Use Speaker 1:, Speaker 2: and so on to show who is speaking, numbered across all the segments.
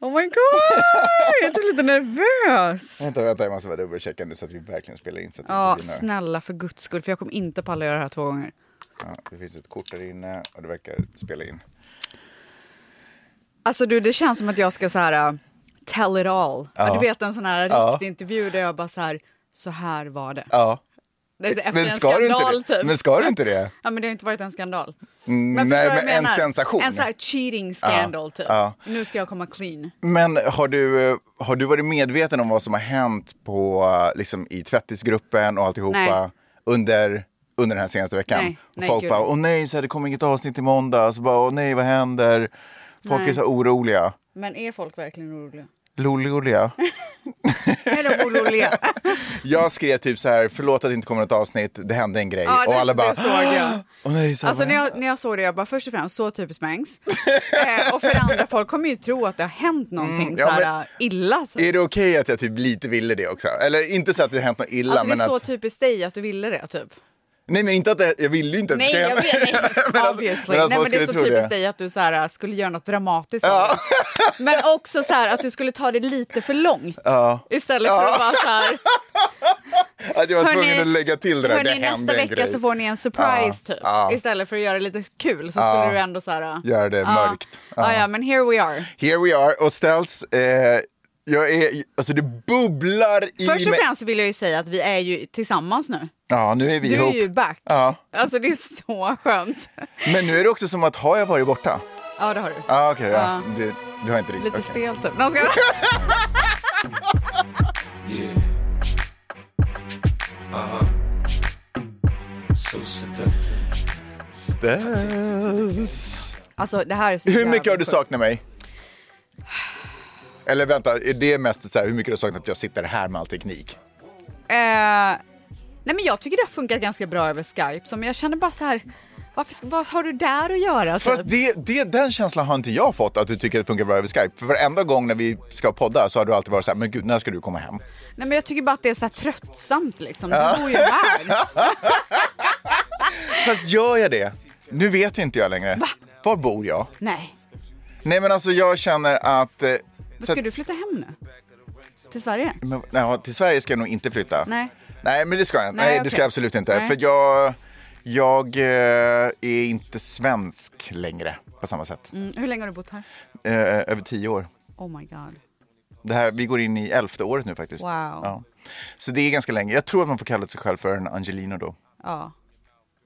Speaker 1: Oh my god! Jag är typ lite nervös.
Speaker 2: Vänta, vänta, jag måste bara dubbelchecka nu så att vi verkligen spelar in. Så att vi
Speaker 1: Ja,
Speaker 2: inte hinner.
Speaker 1: snälla för guds skull, för jag kommer inte palla göra det här två gånger.
Speaker 2: ja, det finns ett kort där inne och det verkar spela in.
Speaker 1: Alltså du, det känns som att jag ska så här uh, tell it all.
Speaker 2: Ja.
Speaker 1: Du vet en sån här
Speaker 2: Ja.
Speaker 1: riktig intervju där jag bara så här, så här var det.
Speaker 2: Ja.
Speaker 1: det är efter
Speaker 2: Men
Speaker 1: en
Speaker 2: ska, du inte
Speaker 1: skandal
Speaker 2: det?
Speaker 1: typ.
Speaker 2: men ska du inte det?
Speaker 1: Ja men det har ju inte varit en skandal.
Speaker 2: Mm,
Speaker 1: Men
Speaker 2: Nej,
Speaker 1: förstår du
Speaker 2: men
Speaker 1: vad jag
Speaker 2: en
Speaker 1: menar?
Speaker 2: sensation.
Speaker 1: En sån här cheating scandal typ.
Speaker 2: ja.
Speaker 1: Nu ska jag komma clean.
Speaker 2: Men har du, eh, har du varit medveten om vad som har hänt på, eh, liksom, i tvättisgruppen och alltihopa
Speaker 1: Nej.
Speaker 2: under, under den här senaste veckan?
Speaker 1: Nej,
Speaker 2: och
Speaker 1: nej,
Speaker 2: folk
Speaker 1: gud.
Speaker 2: bara, åh nej, så här, det kommer inget avsnitt i måndag. Så bara, åh nej, vad händer? Folk är
Speaker 1: Nej.
Speaker 2: så här oroliga.
Speaker 1: Men är folk verkligen oroliga?
Speaker 2: Lololiga.
Speaker 1: Är de oroliga?
Speaker 2: Jag skrev typ så här, förlåt att det inte kommer något avsnitt, det hände en grej.
Speaker 1: Ja,
Speaker 2: och
Speaker 1: det-
Speaker 2: alla
Speaker 1: det
Speaker 2: bara,
Speaker 1: såg jag.
Speaker 2: åh nej, så
Speaker 1: Alltså
Speaker 2: här, vad
Speaker 1: när
Speaker 2: händer?"
Speaker 1: jag, när jag såg det, jag bara först och främst så typiskt Mangs. eh, och för det andra, folk kommer ju tro att det har hänt någonting
Speaker 2: Mm, ja,
Speaker 1: såhär,
Speaker 2: men-
Speaker 1: eh, illa. Så.
Speaker 2: Är det okej att jag typ lite ville det också? Eller inte så att det hänt något illa,
Speaker 1: alltså det är
Speaker 2: men att...
Speaker 1: så typiskt dig att du ville det typ.
Speaker 2: Nej, men inte att det... jag ville ju inte att det
Speaker 1: Nej
Speaker 2: ska
Speaker 1: jag
Speaker 2: hända.
Speaker 1: vet inte,
Speaker 2: Men att-
Speaker 1: obviously.
Speaker 2: men att
Speaker 1: Nej
Speaker 2: folk
Speaker 1: men det är
Speaker 2: skulle
Speaker 1: så
Speaker 2: tro
Speaker 1: typiskt
Speaker 2: det.
Speaker 1: dig att du såhär, skulle göra något dramatiskt av det. Men också såhär att du skulle ta det lite för långt.
Speaker 2: Ja.
Speaker 1: Istället för att bara såhär,
Speaker 2: Att jag var
Speaker 1: Hörni,
Speaker 2: tvungen att lägga till det där,
Speaker 1: hörni
Speaker 2: det hände
Speaker 1: nästa
Speaker 2: en
Speaker 1: vecka
Speaker 2: grej.
Speaker 1: så får ni en surprise
Speaker 2: Ja,
Speaker 1: typ.
Speaker 2: ja.
Speaker 1: Istället för att göra det lite kul så skulle du ändå såhär.
Speaker 2: Gör det mörkt.
Speaker 1: Ja. ja men here we are.
Speaker 2: Here we are, och ställs... Eh, jag är... Alltså det bubblar i
Speaker 1: Först och
Speaker 2: mig.
Speaker 1: främst så vill jag ju säga att vi är ju tillsammans nu.
Speaker 2: Ja, nu är vi
Speaker 1: Du är
Speaker 2: ihop.
Speaker 1: ju back.
Speaker 2: Ja.
Speaker 1: Alltså det är så skönt.
Speaker 2: Men nu är det också som att, har jag varit borta?
Speaker 1: Ja det har du.
Speaker 2: Ah, okej, ja,
Speaker 1: Ja.
Speaker 2: Du, du har inte riktigt...
Speaker 1: Lite
Speaker 2: okej.
Speaker 1: stel typ. Nej, jag skojar.
Speaker 3: Yeah. Uh huh. So seductive.
Speaker 2: Ställs.
Speaker 1: Alltså det här är så
Speaker 2: Hur
Speaker 1: jävla
Speaker 2: mycket har du
Speaker 1: sjukt.
Speaker 2: saknat mig? Eller vänta, är det mest så här, hur mycket har du saknat att jag sitter här med all teknik?
Speaker 1: Eh, nej men jag tycker det har funkat ganska bra över Skype. Så, men jag känner bara så här, varför, ska- vad har du där att göra?
Speaker 2: Fast
Speaker 1: typ?
Speaker 2: det, det, den känslan har inte jag fått, att du tycker att det funkar bra över Skype. För varenda gång när vi ska podda så har du alltid varit så här, men gud, när ska du komma hem?
Speaker 1: Nej men jag tycker bara att det är så här tröttsamt liksom. Du bor ju här.
Speaker 2: Fast gör jag det? Nu vet inte jag längre. Var bor jag?
Speaker 1: nej,
Speaker 2: Nej men alltså jag känner att... Eh,
Speaker 1: men
Speaker 2: så
Speaker 1: ska
Speaker 2: att
Speaker 1: du flytta hem nu? Till Sverige?
Speaker 2: men, nej, till Sverige ska jag nog inte flytta.
Speaker 1: Nej.
Speaker 2: Nej men det ska jag inte. Nej,
Speaker 1: Nej,
Speaker 2: det
Speaker 1: okej.
Speaker 2: ska jag absolut inte.
Speaker 1: Nej.
Speaker 2: För jag, jag eh, är inte svensk längre på samma sätt.
Speaker 1: Mm, hur länge har du bott här?
Speaker 2: Eh, över tio år.
Speaker 1: Oh my god.
Speaker 2: Det här, vi går in i elfte året nu faktiskt.
Speaker 1: Wow.
Speaker 2: Ja. Så det är ganska länge. Jag tror att man får kalla sig själv för en Angelino då.
Speaker 1: Ja.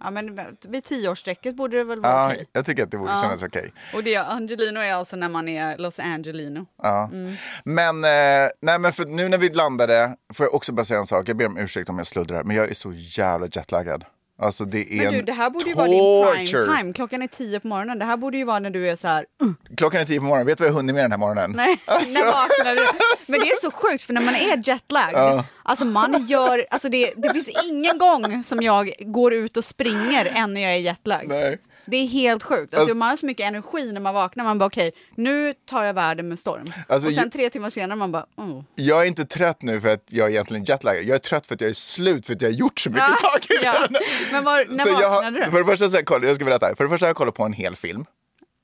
Speaker 1: Ja men vid tioårsstrecket borde det väl vara
Speaker 2: Ja,
Speaker 1: okej.
Speaker 2: jag tycker att det borde kännas okej.
Speaker 1: Och det är Angelino är alltså när man är Los Angelino.
Speaker 2: Ja.
Speaker 1: Mm.
Speaker 2: Men, eh, nej, men för nu när vi landade, får jag också bara säga en sak. Jag ber om ursäkt om jag sluddrar, men jag är så jävla jetlaggad. Alltså det är
Speaker 1: Men du,
Speaker 2: en
Speaker 1: det här borde ju vara din
Speaker 2: torture.
Speaker 1: prime time. Klockan är tio på morgonen. Det här borde ju vara när du är så här... "Uh,
Speaker 2: Klockan är tio på morgonen, vet du vad jag hunnit med den här morgonen?
Speaker 1: Nej,
Speaker 2: Alltså,
Speaker 1: när vaknar du? Men det är så sjukt för när man är jetlagged, alltså man gör, alltså det, det finns ingen gång som jag går ut och springer än när jag är jetlagged.
Speaker 2: Nej.
Speaker 1: Det är helt sjukt. Alltså,
Speaker 2: Alltså-
Speaker 1: man har så mycket energi när man vaknar. Man bara okej, nu tar jag världen med storm.
Speaker 2: Alltså,
Speaker 1: och sen
Speaker 2: ju-
Speaker 1: tre timmar senare man bara oh.
Speaker 2: Jag är inte trött nu för att jag är egentligen jetlaggad. Jag är trött för att jag är slut för att jag har gjort så mycket saker.
Speaker 1: Ah, Ja. Men var, när
Speaker 2: Så jag,
Speaker 1: vaknade
Speaker 2: har-
Speaker 1: du?
Speaker 2: för det första så har jag, kollat- jag ska berätta. här. För det första har jag kollat på en hel film.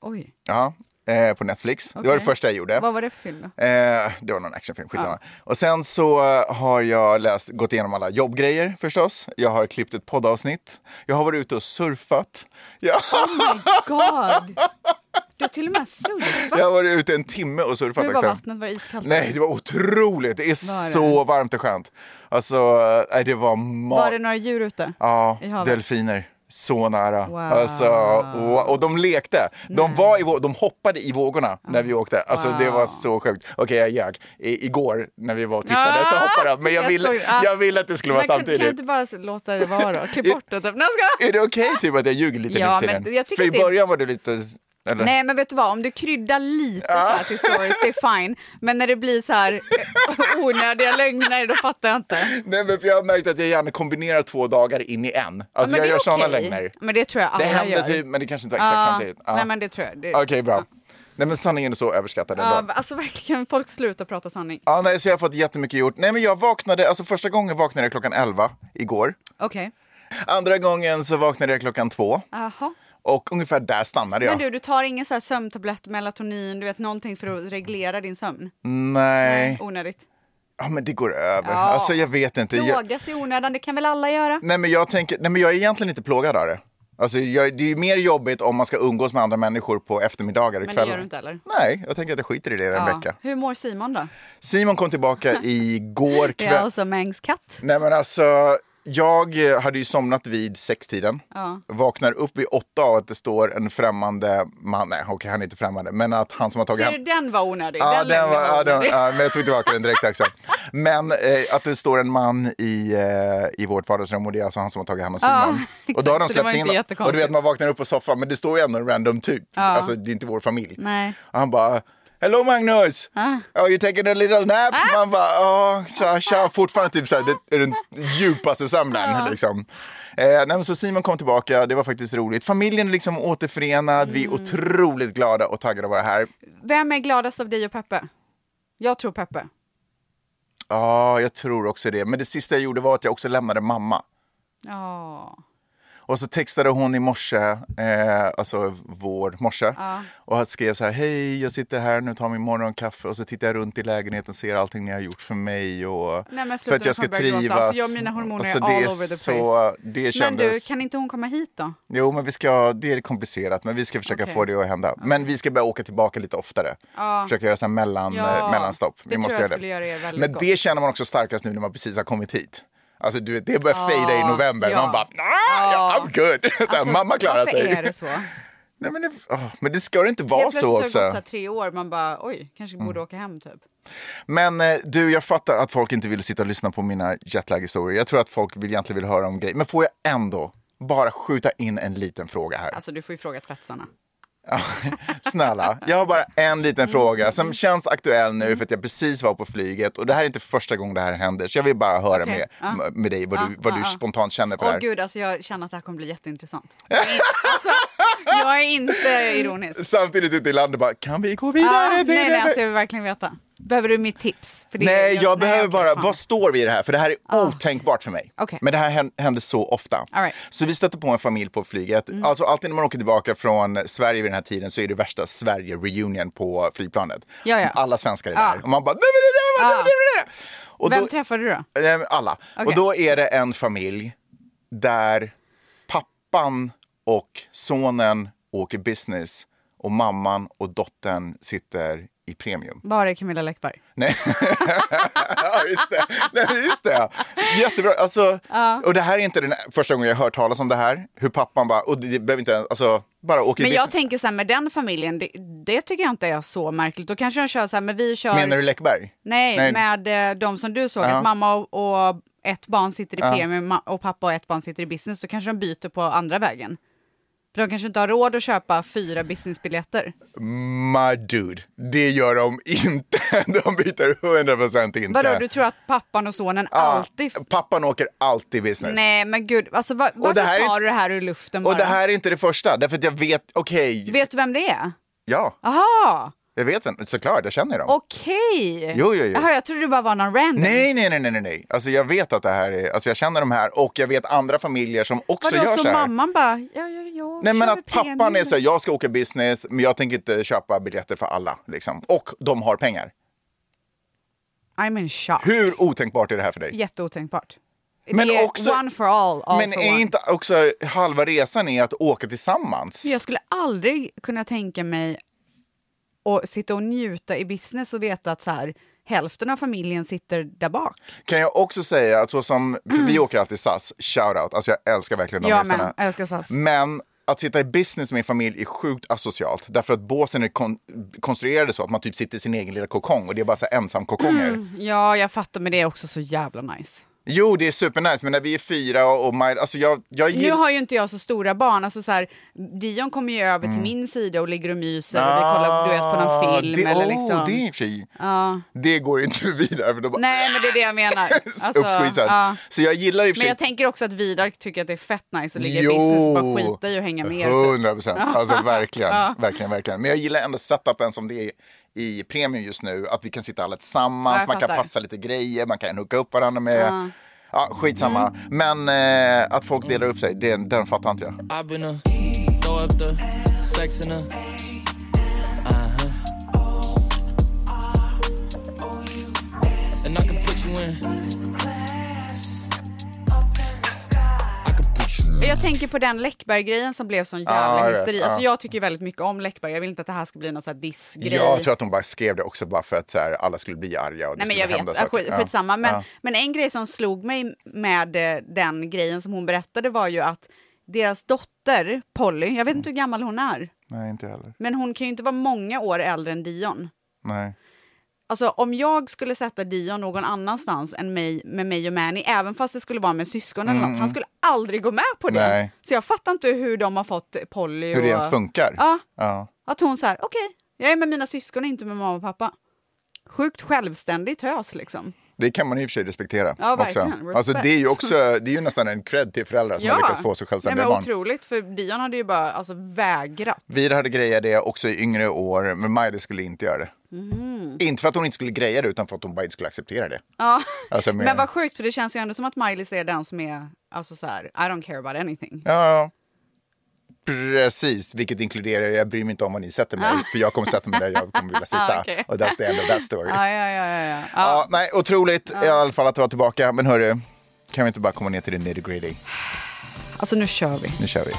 Speaker 1: Oj,
Speaker 2: Ja, eh, på Netflix. Det var det
Speaker 1: Okej.
Speaker 2: första jag gjorde.
Speaker 1: vad var det för film då?
Speaker 2: Eh, det var någon actionfilm, skitsamma. Och sen så eh, har jag läst, gått igenom alla jobbgrejer förstås. Jag har klippt ett poddavsnitt. Jag har varit ute och surfat. Jag,
Speaker 1: Oh my god! Du har till och med surfat.
Speaker 2: jag har varit ute en timme och surfat.
Speaker 1: Hur var
Speaker 2: också.
Speaker 1: vattnet? Var det iskallt?
Speaker 2: Nej, det var otroligt. Det är
Speaker 1: Var det?
Speaker 2: så varmt och skönt. Alltså, eh, det var ma-
Speaker 1: Var det några djur ute?
Speaker 2: Ja,
Speaker 1: i havet?
Speaker 2: delfiner. Så nära.
Speaker 1: Wow.
Speaker 2: Alltså, och, och de lekte. De, var i, vå- de hoppade i vågorna när vi åkte. Alltså, Det var
Speaker 1: Wow.
Speaker 2: så sjukt. Okej, jag ljög. I, igår när vi var och tittade så
Speaker 1: Ah!
Speaker 2: hoppade de. Men jag
Speaker 1: Jag
Speaker 2: ville
Speaker 1: såg- ah.
Speaker 2: jag ville att det skulle vara
Speaker 1: Men kan, kan
Speaker 2: samtidigt.
Speaker 1: du inte bara låta det vara då? Klipp bort det typ. Nej, jag skojar.
Speaker 2: Är det okej typ, att jag ljuger lite
Speaker 1: Ja,
Speaker 2: nu för
Speaker 1: men
Speaker 2: tiden?
Speaker 1: jag tycker
Speaker 2: För i
Speaker 1: att det är-
Speaker 2: början var du lite... Eller?
Speaker 1: Nej men vet du vad, om du kryddar lite så här till stories, det är fine. Men när det blir så här eh, onödiga lögner, då fattar jag inte. Ja,
Speaker 2: Nej, men för jag har märkt att jag gärna kombinerar två dagar in i en. Alltså,
Speaker 1: men
Speaker 2: jag
Speaker 1: det är
Speaker 2: gör såna
Speaker 1: okej.
Speaker 2: lögner.
Speaker 1: Men det tror jag alla
Speaker 2: Det händer
Speaker 1: gör.
Speaker 2: typ, men det kanske inte var exakt
Speaker 1: Ja,
Speaker 2: samtidigt. Ja.
Speaker 1: Nej men det tror jag. Det,
Speaker 2: Okej, bra. Nej, men sanningen är så överskattad ändå.
Speaker 1: Ja, alltså verkligen, folk slutar prata sanning.
Speaker 2: Ja, nej, så jag har fått jättemycket gjort. Nej, men jag vaknade, alltså första gången vaknade jag klockan 11 igår.
Speaker 1: Okej.
Speaker 2: Andra gången så vaknade jag klockan 2.
Speaker 1: Jaha.
Speaker 2: Och ungefär där stannade jag.
Speaker 1: Men du, du tar ingen så här sömntablett, melatonin, du vet någonting för att reglera din sömn?
Speaker 2: Nej,
Speaker 1: Onödigt.
Speaker 2: ja, men det går över.
Speaker 1: Ja.
Speaker 2: Alltså jag vet inte. Jag,
Speaker 1: Plågas i onödan, det kan väl alla göra?
Speaker 2: nej, men jag tänker, nej, men jag är egentligen inte plågad av det. Alltså, jag, det är ju mer jobbigt om man ska umgås med andra människor på eftermiddagar och
Speaker 1: Men det
Speaker 2: kvällar.
Speaker 1: gör du inte heller?
Speaker 2: Nej, jag tänker att jag skiter i det en
Speaker 1: Ja.
Speaker 2: vecka.
Speaker 1: Hur mår Simon då?
Speaker 2: Simon kom tillbaka igår
Speaker 1: Det är
Speaker 2: kväll.
Speaker 1: alltså Mangs katt.
Speaker 2: Nej men alltså, jag eh, hade ju somnat vid sextiden.
Speaker 1: Ja.
Speaker 2: Vaknar upp vid åtta av att det står en främmande man, nej okej han är inte främmande, men att han som har tagit
Speaker 1: Ser du, den var onödig.
Speaker 2: Ja, den
Speaker 1: lämnar
Speaker 2: var,
Speaker 1: jag
Speaker 2: ja, den,
Speaker 1: onödig.
Speaker 2: ja, men jag tog tillbaka den direkt också. Men eh, att det står en man i, eh, i vårt vardagsrum och det är alltså han som har tagit hand om
Speaker 1: Ja,
Speaker 2: Simon. och då har de
Speaker 1: exakt, så det var
Speaker 2: släppt in
Speaker 1: inte jättekonstigt.
Speaker 2: Och du vet man vaknar upp på soffan men det står ju ändå en random typ. Alltså det är inte vår familj.
Speaker 1: Nej.
Speaker 2: Och han bara Hello Magnus! Oh, you taking a little nap? Man bara, ja, tja, tja. Fortfarande typ så här, det är den djupaste sömnen. Liksom. Eh, nej, men så Simon kom tillbaka, det var faktiskt roligt. Familjen är liksom återförenad, vi är otroligt glada och taggade att vara här.
Speaker 1: Vem är gladast av dig och Peppe? Jag tror Peppe.
Speaker 2: Ja, jag tror också det. Men det sista jag gjorde var att jag också lämnade mamma.
Speaker 1: Ja.
Speaker 2: Och så textade hon i morse, eh, alltså vår morse, och han skrev så här, hej, jag sitter här nu, tar min morgonkaffe och så tittar jag runt i lägenheten och ser allting ni har gjort för mig och
Speaker 1: Nej, men
Speaker 2: för
Speaker 1: sluta,
Speaker 2: att jag
Speaker 1: nu
Speaker 2: ska
Speaker 1: kommer jag börja
Speaker 2: trivas.
Speaker 1: gråta. Alltså, jag- mina hormoner är
Speaker 2: det
Speaker 1: all over the
Speaker 2: så, Det
Speaker 1: Men
Speaker 2: kändes...
Speaker 1: du, kan inte hon komma hit då?
Speaker 2: Jo, men vi ska, det är komplicerat, men vi ska försöka
Speaker 1: Okej.
Speaker 2: få det att hända. Men vi ska börja åka tillbaka lite oftare. Försöka göra så här mellan,
Speaker 1: Ja,
Speaker 2: eh, mellanstopp.
Speaker 1: det
Speaker 2: Vi
Speaker 1: tror
Speaker 2: måste
Speaker 1: jag
Speaker 2: göra
Speaker 1: skulle göra er väldigt
Speaker 2: men
Speaker 1: gott.
Speaker 2: det känner man också starkast nu när man precis har kommit hit. Alltså du vet, det börjar fejda i november.
Speaker 1: ja.
Speaker 2: Man bara, nah, ja. I'm good. Så här,
Speaker 1: Alltså,
Speaker 2: mamma klarar
Speaker 1: varför
Speaker 2: sig.
Speaker 1: är det så?
Speaker 2: Nej, men, det, åh, men det ska det inte vara
Speaker 1: Helt plötsligt
Speaker 2: så
Speaker 1: har det gått
Speaker 2: också. Mm.
Speaker 1: så här tre år, man bara oj, kanske borde åka hem typ.
Speaker 2: Men eh, du, jag fattar att folk inte vill sitta och lyssna på mina jetlag-historier. Jag tror att folk vill, egentligen vill höra om grejer. Men får jag ändå bara skjuta in en liten fråga här?
Speaker 1: Alltså du får ju fråga tvättisarna.
Speaker 2: Snälla, jag har bara en
Speaker 1: Mm.
Speaker 2: liten fråga som känns aktuell nu för att jag precis var på flyget och det här är inte första gången det här händer så jag vill bara höra
Speaker 1: Okej,
Speaker 2: med, med dig vad, du, vad du spontant känner för det
Speaker 1: Åh
Speaker 2: här.
Speaker 1: gud, alltså jag känner att det här kommer bli jätteintressant. Jag är- alltså, jag är inte ironisk.
Speaker 2: Samtidigt ute i landet bara, kan vi gå
Speaker 1: Ah,
Speaker 2: vidare?
Speaker 1: nej,
Speaker 2: till
Speaker 1: nej,
Speaker 2: det?
Speaker 1: alltså jag vill verkligen veta. Behöver du mitt tips? För det-
Speaker 2: nej, jag, behöver
Speaker 1: okej,
Speaker 2: bara,
Speaker 1: fan.
Speaker 2: vad står vi i det här? För det här är otänkbart för mig.
Speaker 1: Okej.
Speaker 2: Men det här hän- händer så ofta.
Speaker 1: All right. Mm.
Speaker 2: Så vi stötte på en familj på flyget. Alltså alltid när man åker tillbaka från Sverige vid den här tiden så är det värsta Sverige-reunion på flygplanet.
Speaker 1: Ja, ja.
Speaker 2: Alla svenskar är
Speaker 1: Ja.
Speaker 2: där. Och man bara, nej men det där var
Speaker 1: Ja.
Speaker 2: det, var det, var det. Och
Speaker 1: Vem
Speaker 2: då-
Speaker 1: träffade du då?
Speaker 2: Eh, Alla.
Speaker 1: Okej.
Speaker 2: Och då är det en familj där pappan och sonen åker business och mamman och dottern sitter i premium.
Speaker 1: Bara Camilla Läckberg.
Speaker 2: Nej, Ja, just det. Nej, men just det. Jättebra. Alltså, Och det här är inte den första gången jag har hört talas om det här. Hur pappan bara, och det, det behöver inte ens, alltså, bara åker
Speaker 1: Men
Speaker 2: i
Speaker 1: jag
Speaker 2: business.
Speaker 1: tänker så här med den familjen, det, det tycker jag inte är så märkligt. Då kanske de kör så här, men vi kör...
Speaker 2: Menar du Läckberg?
Speaker 1: Nej,
Speaker 2: Nej.
Speaker 1: med eh, de som du såg, att mamma och, och ett barn sitter i premium ma- och pappa och ett barn sitter i business, då kanske de byter på andra vägen. För de kanske inte har råd att köpa fyra businessbiljetter.
Speaker 2: My dude, det gör de inte. De byter 100% inte.
Speaker 1: Vadå, du tror att pappan och sonen
Speaker 2: Ja,
Speaker 1: alltid...
Speaker 2: Pappan åker alltid business.
Speaker 1: Nej men gud, alltså, va, varför
Speaker 2: det här är
Speaker 1: tar
Speaker 2: inte-
Speaker 1: du det här ur luften bara?
Speaker 2: Och det här är inte det första, därför att jag vet, okej,
Speaker 1: Vet du vem det är?
Speaker 2: ja,
Speaker 1: Aha,
Speaker 2: jag vet vem, såklart, jag känner dem.
Speaker 1: okej!
Speaker 2: Jo, jo, jo.
Speaker 1: Jaha, jag trodde det bara var någon random.
Speaker 2: Nej, nej, nej, nej, nej, nej, alltså jag vet att det här är, alltså jag känner de här och jag vet andra familjer som också
Speaker 1: Vadå,
Speaker 2: gör
Speaker 1: så,
Speaker 2: så här.
Speaker 1: mamman bara, ja, ja, ja,
Speaker 2: Nej men
Speaker 1: kör vi
Speaker 2: att pappan
Speaker 1: premium.
Speaker 2: är så här, jag ska åka business men jag tänker inte köpa biljetter för alla liksom. Och de har pengar.
Speaker 1: I'm in shock.
Speaker 2: Hur otänkbart är det här för dig?
Speaker 1: Jätteotänkbart.
Speaker 2: Men
Speaker 1: det är
Speaker 2: också-
Speaker 1: one for all, all
Speaker 2: men
Speaker 1: for
Speaker 2: är
Speaker 1: one.
Speaker 2: inte också halva resan är att åka tillsammans?
Speaker 1: Jag skulle aldrig kunna tänka mig att sitta och njuta i business och veta att så här, hälften av familjen sitter där bak.
Speaker 2: Kan jag också säga att så som, för vi åker alltid SAS, shout out, alltså jag Mm. älskar verkligen de
Speaker 1: Jag
Speaker 2: resorna.
Speaker 1: med, jag älskar SAS.
Speaker 2: Men att sitta i business med en familj är sjukt asocialt. Därför att båsen är kon- konstruerade så att man typ sitter i sin egen lilla kokong och det är bara så här ensam kokonger.
Speaker 1: Mm. Ja, jag fattar, men det är också så jävla nice.
Speaker 2: Jo, det är supernice, men när vi är fyra och, och my, alltså jag, jag
Speaker 1: Nu
Speaker 2: gillar...
Speaker 1: har ju inte jag så stora barn. Alltså så här, Dion kommer ju över
Speaker 2: Mm.
Speaker 1: till min sida och ligger och myser och vi kollar du vet, på någon film.
Speaker 2: Ah, det,
Speaker 1: eller
Speaker 2: åh,
Speaker 1: liksom.
Speaker 2: det är i och för sig. Det går inte vidare för de bara
Speaker 1: Nej, men det är det jag menar. Alltså,
Speaker 2: uppsqueezad.
Speaker 1: ja.
Speaker 2: Så jag gillar i och för
Speaker 1: Men
Speaker 2: sig
Speaker 1: jag tänker också att Vidar tycker att det är fett nice att ligga
Speaker 2: Jo.
Speaker 1: i business och bara skita i och hänga med. typ.
Speaker 2: 100 procent. Alltså verkligen, verkligen, verkligen. Men jag gillar ändå setupen som det är i Premium just nu. Att vi kan sitta alla tillsammans,
Speaker 1: Ja, jag
Speaker 2: man kan
Speaker 1: fattar.
Speaker 2: passa lite grejer, man kan hooka upp varandra med. Ja. skitsamma. Men eh, att folk delar upp sig, det, den fattar inte jag.
Speaker 3: I've been a thug
Speaker 4: throw up the sex in her. Uh huh. And I can put you in. I can put you in.
Speaker 1: Jag tänker på den Läckberg-grejen som blev sån
Speaker 2: Ja,
Speaker 1: jävla
Speaker 2: jag vet.
Speaker 1: hysteri. Alltså,
Speaker 2: Ja.
Speaker 1: jag tycker ju väldigt mycket om Läckberg. Jag vill inte att det här ska bli någon sån här diss-grej.
Speaker 2: Jag tror att de bara skrev det också bara för att så här, alla skulle bli arga. Och det
Speaker 1: Nej men jag
Speaker 2: skulle hända
Speaker 1: vet,
Speaker 2: saker.
Speaker 1: Skit,
Speaker 2: Ja.
Speaker 1: skitsamma. Men,
Speaker 2: Ja.
Speaker 1: men en grej som slog mig med eh, den grejen som hon berättade var ju att deras dotter Polly, jag vet inte hur gammal hon är,
Speaker 2: Nej, inte heller.
Speaker 1: men hon kan ju inte vara många år äldre än Dion.
Speaker 2: Nej.
Speaker 1: Alltså om jag skulle sätta Dion någon annanstans än mig med mig och Manny, även fast det skulle vara med syskon eller något, han skulle aldrig gå med på det.
Speaker 2: Mm. Nej.
Speaker 1: Så jag fattar inte hur de har fått Polly
Speaker 2: Hur
Speaker 1: och...
Speaker 2: det ens funkar.
Speaker 1: Ja,
Speaker 2: Ja.
Speaker 1: att hon så här, okej, jag är med mina syskon, inte med mamma och pappa. Sjukt självständigt hös liksom.
Speaker 2: Det kan man i och för sig respektera.
Speaker 1: Ja, verkligen.
Speaker 2: också.
Speaker 1: Respect.
Speaker 2: Alltså, det är ju också det är ju nästan en cred till föräldrar som har lyckats få så självständiga
Speaker 1: Nej, men
Speaker 2: barn.
Speaker 1: Otroligt, för Dion hade ju bara alltså, vägrat.
Speaker 2: Vi hade grejat det också i yngre år, men Majde skulle inte göra det.
Speaker 1: Mm.
Speaker 2: Inte för att hon inte skulle greja det, utan för att hon bara inte skulle acceptera det.
Speaker 1: Ja.
Speaker 2: Alltså,
Speaker 1: Men,
Speaker 2: men-
Speaker 1: vad sjukt, för det känns ju ändå som att Miley är den som är alltså, så här, I don't care about anything.
Speaker 2: Ja, ja. Precis, vilket inkluderar, jag bryr mig inte om vad ni sätter mig, för jag kommer sätta mig där jag kommer vilja sitta.
Speaker 1: Ah, okej. Ah,
Speaker 2: Och that's the end of that story.
Speaker 1: Ja, ja, ja, ja, ja.
Speaker 2: Ja,
Speaker 1: ja.
Speaker 2: nej, otroligt i alla fall att du var tillbaka. Men hörru, kan vi inte bara komma ner till det nitty gritty?
Speaker 1: Alltså nu kör vi.
Speaker 2: Nu kör vi.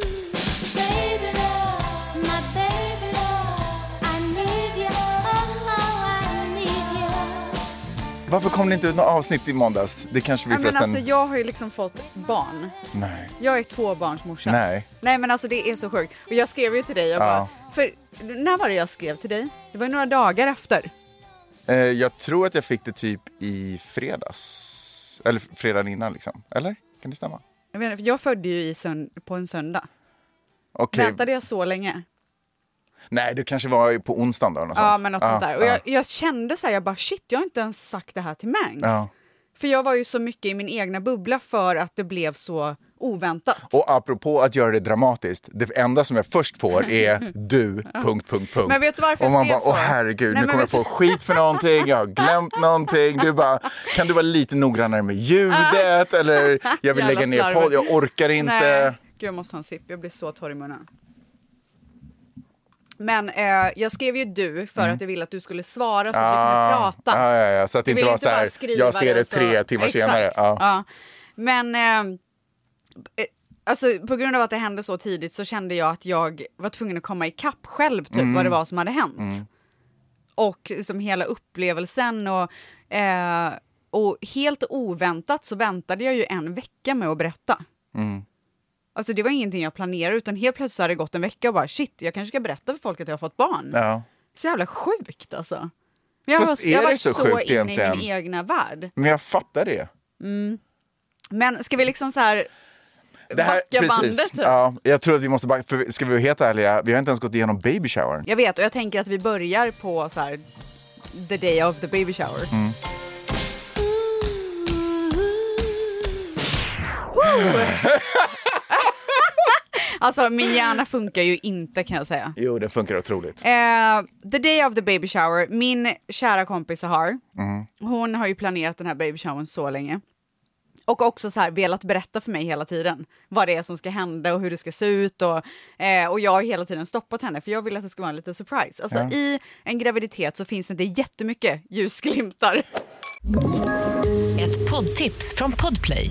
Speaker 5: Baby love, my baby love, I need you, oh I need you.
Speaker 2: Varför kom det inte ut något avsnitt i måndags? Det kanske vi
Speaker 1: Nej, men
Speaker 2: förresten...
Speaker 1: alltså, jag har ju liksom fått barn.
Speaker 2: Nej.
Speaker 1: Jag är tvåbarnsmorsa.
Speaker 2: Nej.
Speaker 1: Nej men alltså det är så sjukt. Och jag skrev ju till dig, jag
Speaker 2: Ja.
Speaker 1: bara, för när var det jag skrev till dig? Det var ju några dagar efter.
Speaker 2: Eh, jag tror att jag fick det typ i fredags. Eller fredagen innan liksom. Eller? Kan det stämma?
Speaker 1: Jag, vet, inte, för jag födde ju i sönd- på en söndag.
Speaker 2: Okej.
Speaker 1: Väntade jag så länge?
Speaker 2: Nej, det kanske var på onsdagen då. Något
Speaker 1: Ja,
Speaker 2: sånt. Ah,
Speaker 1: men något
Speaker 2: Ja,
Speaker 1: sånt där. Och
Speaker 2: ja.
Speaker 1: jag, jag kände så här, jag bara shit, jag har inte ens sagt det här till Mangs.
Speaker 2: Ja.
Speaker 1: För jag var ju så mycket i min egna bubbla för att det blev så oväntat.
Speaker 2: Och apropå att göra det dramatiskt, det enda som jag först får är du, punkt, punkt, punkt.
Speaker 1: Men vet du varför jag
Speaker 2: Och man
Speaker 1: skrev
Speaker 2: bara,
Speaker 1: så?
Speaker 2: åh herregud,
Speaker 1: Nej,
Speaker 2: nu
Speaker 1: men
Speaker 2: kommer jag
Speaker 1: vet
Speaker 2: få skit för någonting, jag har glömt någonting. Du bara, kan du vara lite noggrannare med ljudet? Eller, jag vill
Speaker 1: Jävla
Speaker 2: lägga ner
Speaker 1: slarver.
Speaker 2: podd, jag orkar inte.
Speaker 1: Nej. Gud, jag måste ha en sipp. Jag blir så torr i munnen. Men eh, jag skrev ju du för
Speaker 2: Mm.
Speaker 1: att jag ville att du skulle svara så att
Speaker 2: Ah,
Speaker 1: vi kunde prata.
Speaker 2: ja, ja, ja, så att det
Speaker 1: Du
Speaker 2: inte
Speaker 1: vill
Speaker 2: var så
Speaker 1: bara
Speaker 2: här,
Speaker 1: skriva
Speaker 2: jag ser det
Speaker 1: och så-
Speaker 2: tre timmar
Speaker 1: Exakt.
Speaker 2: senare. Ja.
Speaker 1: Ja. Men eh, eh, alltså, på grund av att det hände så tidigt så kände jag att jag var tvungen att komma ikapp själv typ,
Speaker 2: Mm.
Speaker 1: vad det var som hade hänt. Och liksom hela upplevelsen och, eh, och helt oväntat så väntade jag ju en vecka med att berätta.
Speaker 2: Mm.
Speaker 1: Alltså det var ingenting jag planerade utan helt plötsligt så hade det gått en vecka och bara shit, jag kanske ska berätta för folk att jag har fått barn.
Speaker 2: Ja.
Speaker 1: Så jävla sjukt alltså. Men jag
Speaker 2: Fast
Speaker 1: har, jag
Speaker 2: är
Speaker 1: har
Speaker 2: det
Speaker 1: varit
Speaker 2: så
Speaker 1: så,
Speaker 2: sjukt
Speaker 1: inne i
Speaker 2: egentligen?
Speaker 1: min egna värld.
Speaker 2: Men jag fattar det.
Speaker 1: Men ska vi liksom så här
Speaker 2: det här,
Speaker 1: backa
Speaker 2: precis.
Speaker 1: bandet? Typ?
Speaker 2: Ja, jag tror att vi måste backa, för ska vi vara helt ärliga, vi har inte ens gått igenom baby showern.
Speaker 1: Jag vet och jag tänker att vi börjar på så här the day of the baby shower.
Speaker 2: Mm.
Speaker 1: Woo! alltså min hjärna funkar ju inte kan jag säga.
Speaker 2: Jo, den funkar otroligt.
Speaker 1: Eh, the day of the baby shower. Min kära kompis Sahar, hon har ju planerat den här baby showern så länge. Och också så här velat berätta för mig hela tiden vad det är som ska hända och hur det ska se ut. Och, eh, och jag har hela tiden stoppat henne för jag vill att det ska vara en liten surprise. Alltså i en graviditet så finns det inte jättemycket ljusglimtar.
Speaker 6: Ett poddtips från Podplay.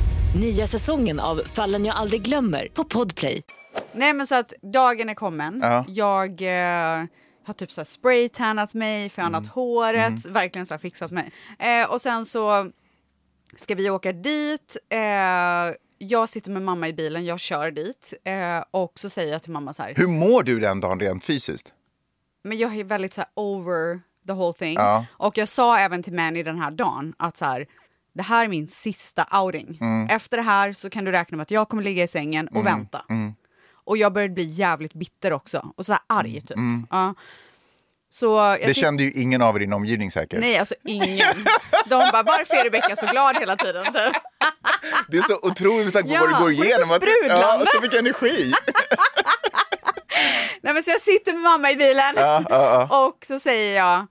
Speaker 6: Nya säsongen av Fallen jag aldrig glömmer på Podplay.
Speaker 1: Nej men så att dagen är kommen.
Speaker 2: Ja.
Speaker 1: Jag eh, har typ så här spraytannat mig, fönat håret, verkligen så här fixat mig. Eh, och sen så ska vi åka dit. Eh, jag sitter med mamma i bilen, jag kör dit. Eh, och så säger jag till mamma så här,
Speaker 2: Hur mår du den dagen rent fysiskt?
Speaker 1: men jag är väldigt så här over the whole thing.
Speaker 2: Ja.
Speaker 1: Och jag sa även till Manny den här dagen att så här, det här är min sista outing.
Speaker 2: Mm.
Speaker 1: Efter det här så kan du räkna med att jag kommer ligga i sängen och
Speaker 2: Mm.
Speaker 1: vänta. Och jag började bli jävligt bitter också och så här arg typ. Ja. Så jag
Speaker 2: Mm. Det
Speaker 1: sitter-
Speaker 2: kände ju ingen av er i din omgivning säkert.
Speaker 1: Nej, alltså ingen. De bara, varför är Rebecka så glad hela tiden? Typ.
Speaker 2: Det är så otroligt med tanke på
Speaker 1: Ja,
Speaker 2: vad du går
Speaker 1: och det är så
Speaker 2: igenom. att- ja,
Speaker 1: sprudlande.
Speaker 2: så mycket energi.
Speaker 1: Nej, men så jag sitter med mamma i bilen
Speaker 2: Ja, ja,
Speaker 1: och så säger jag,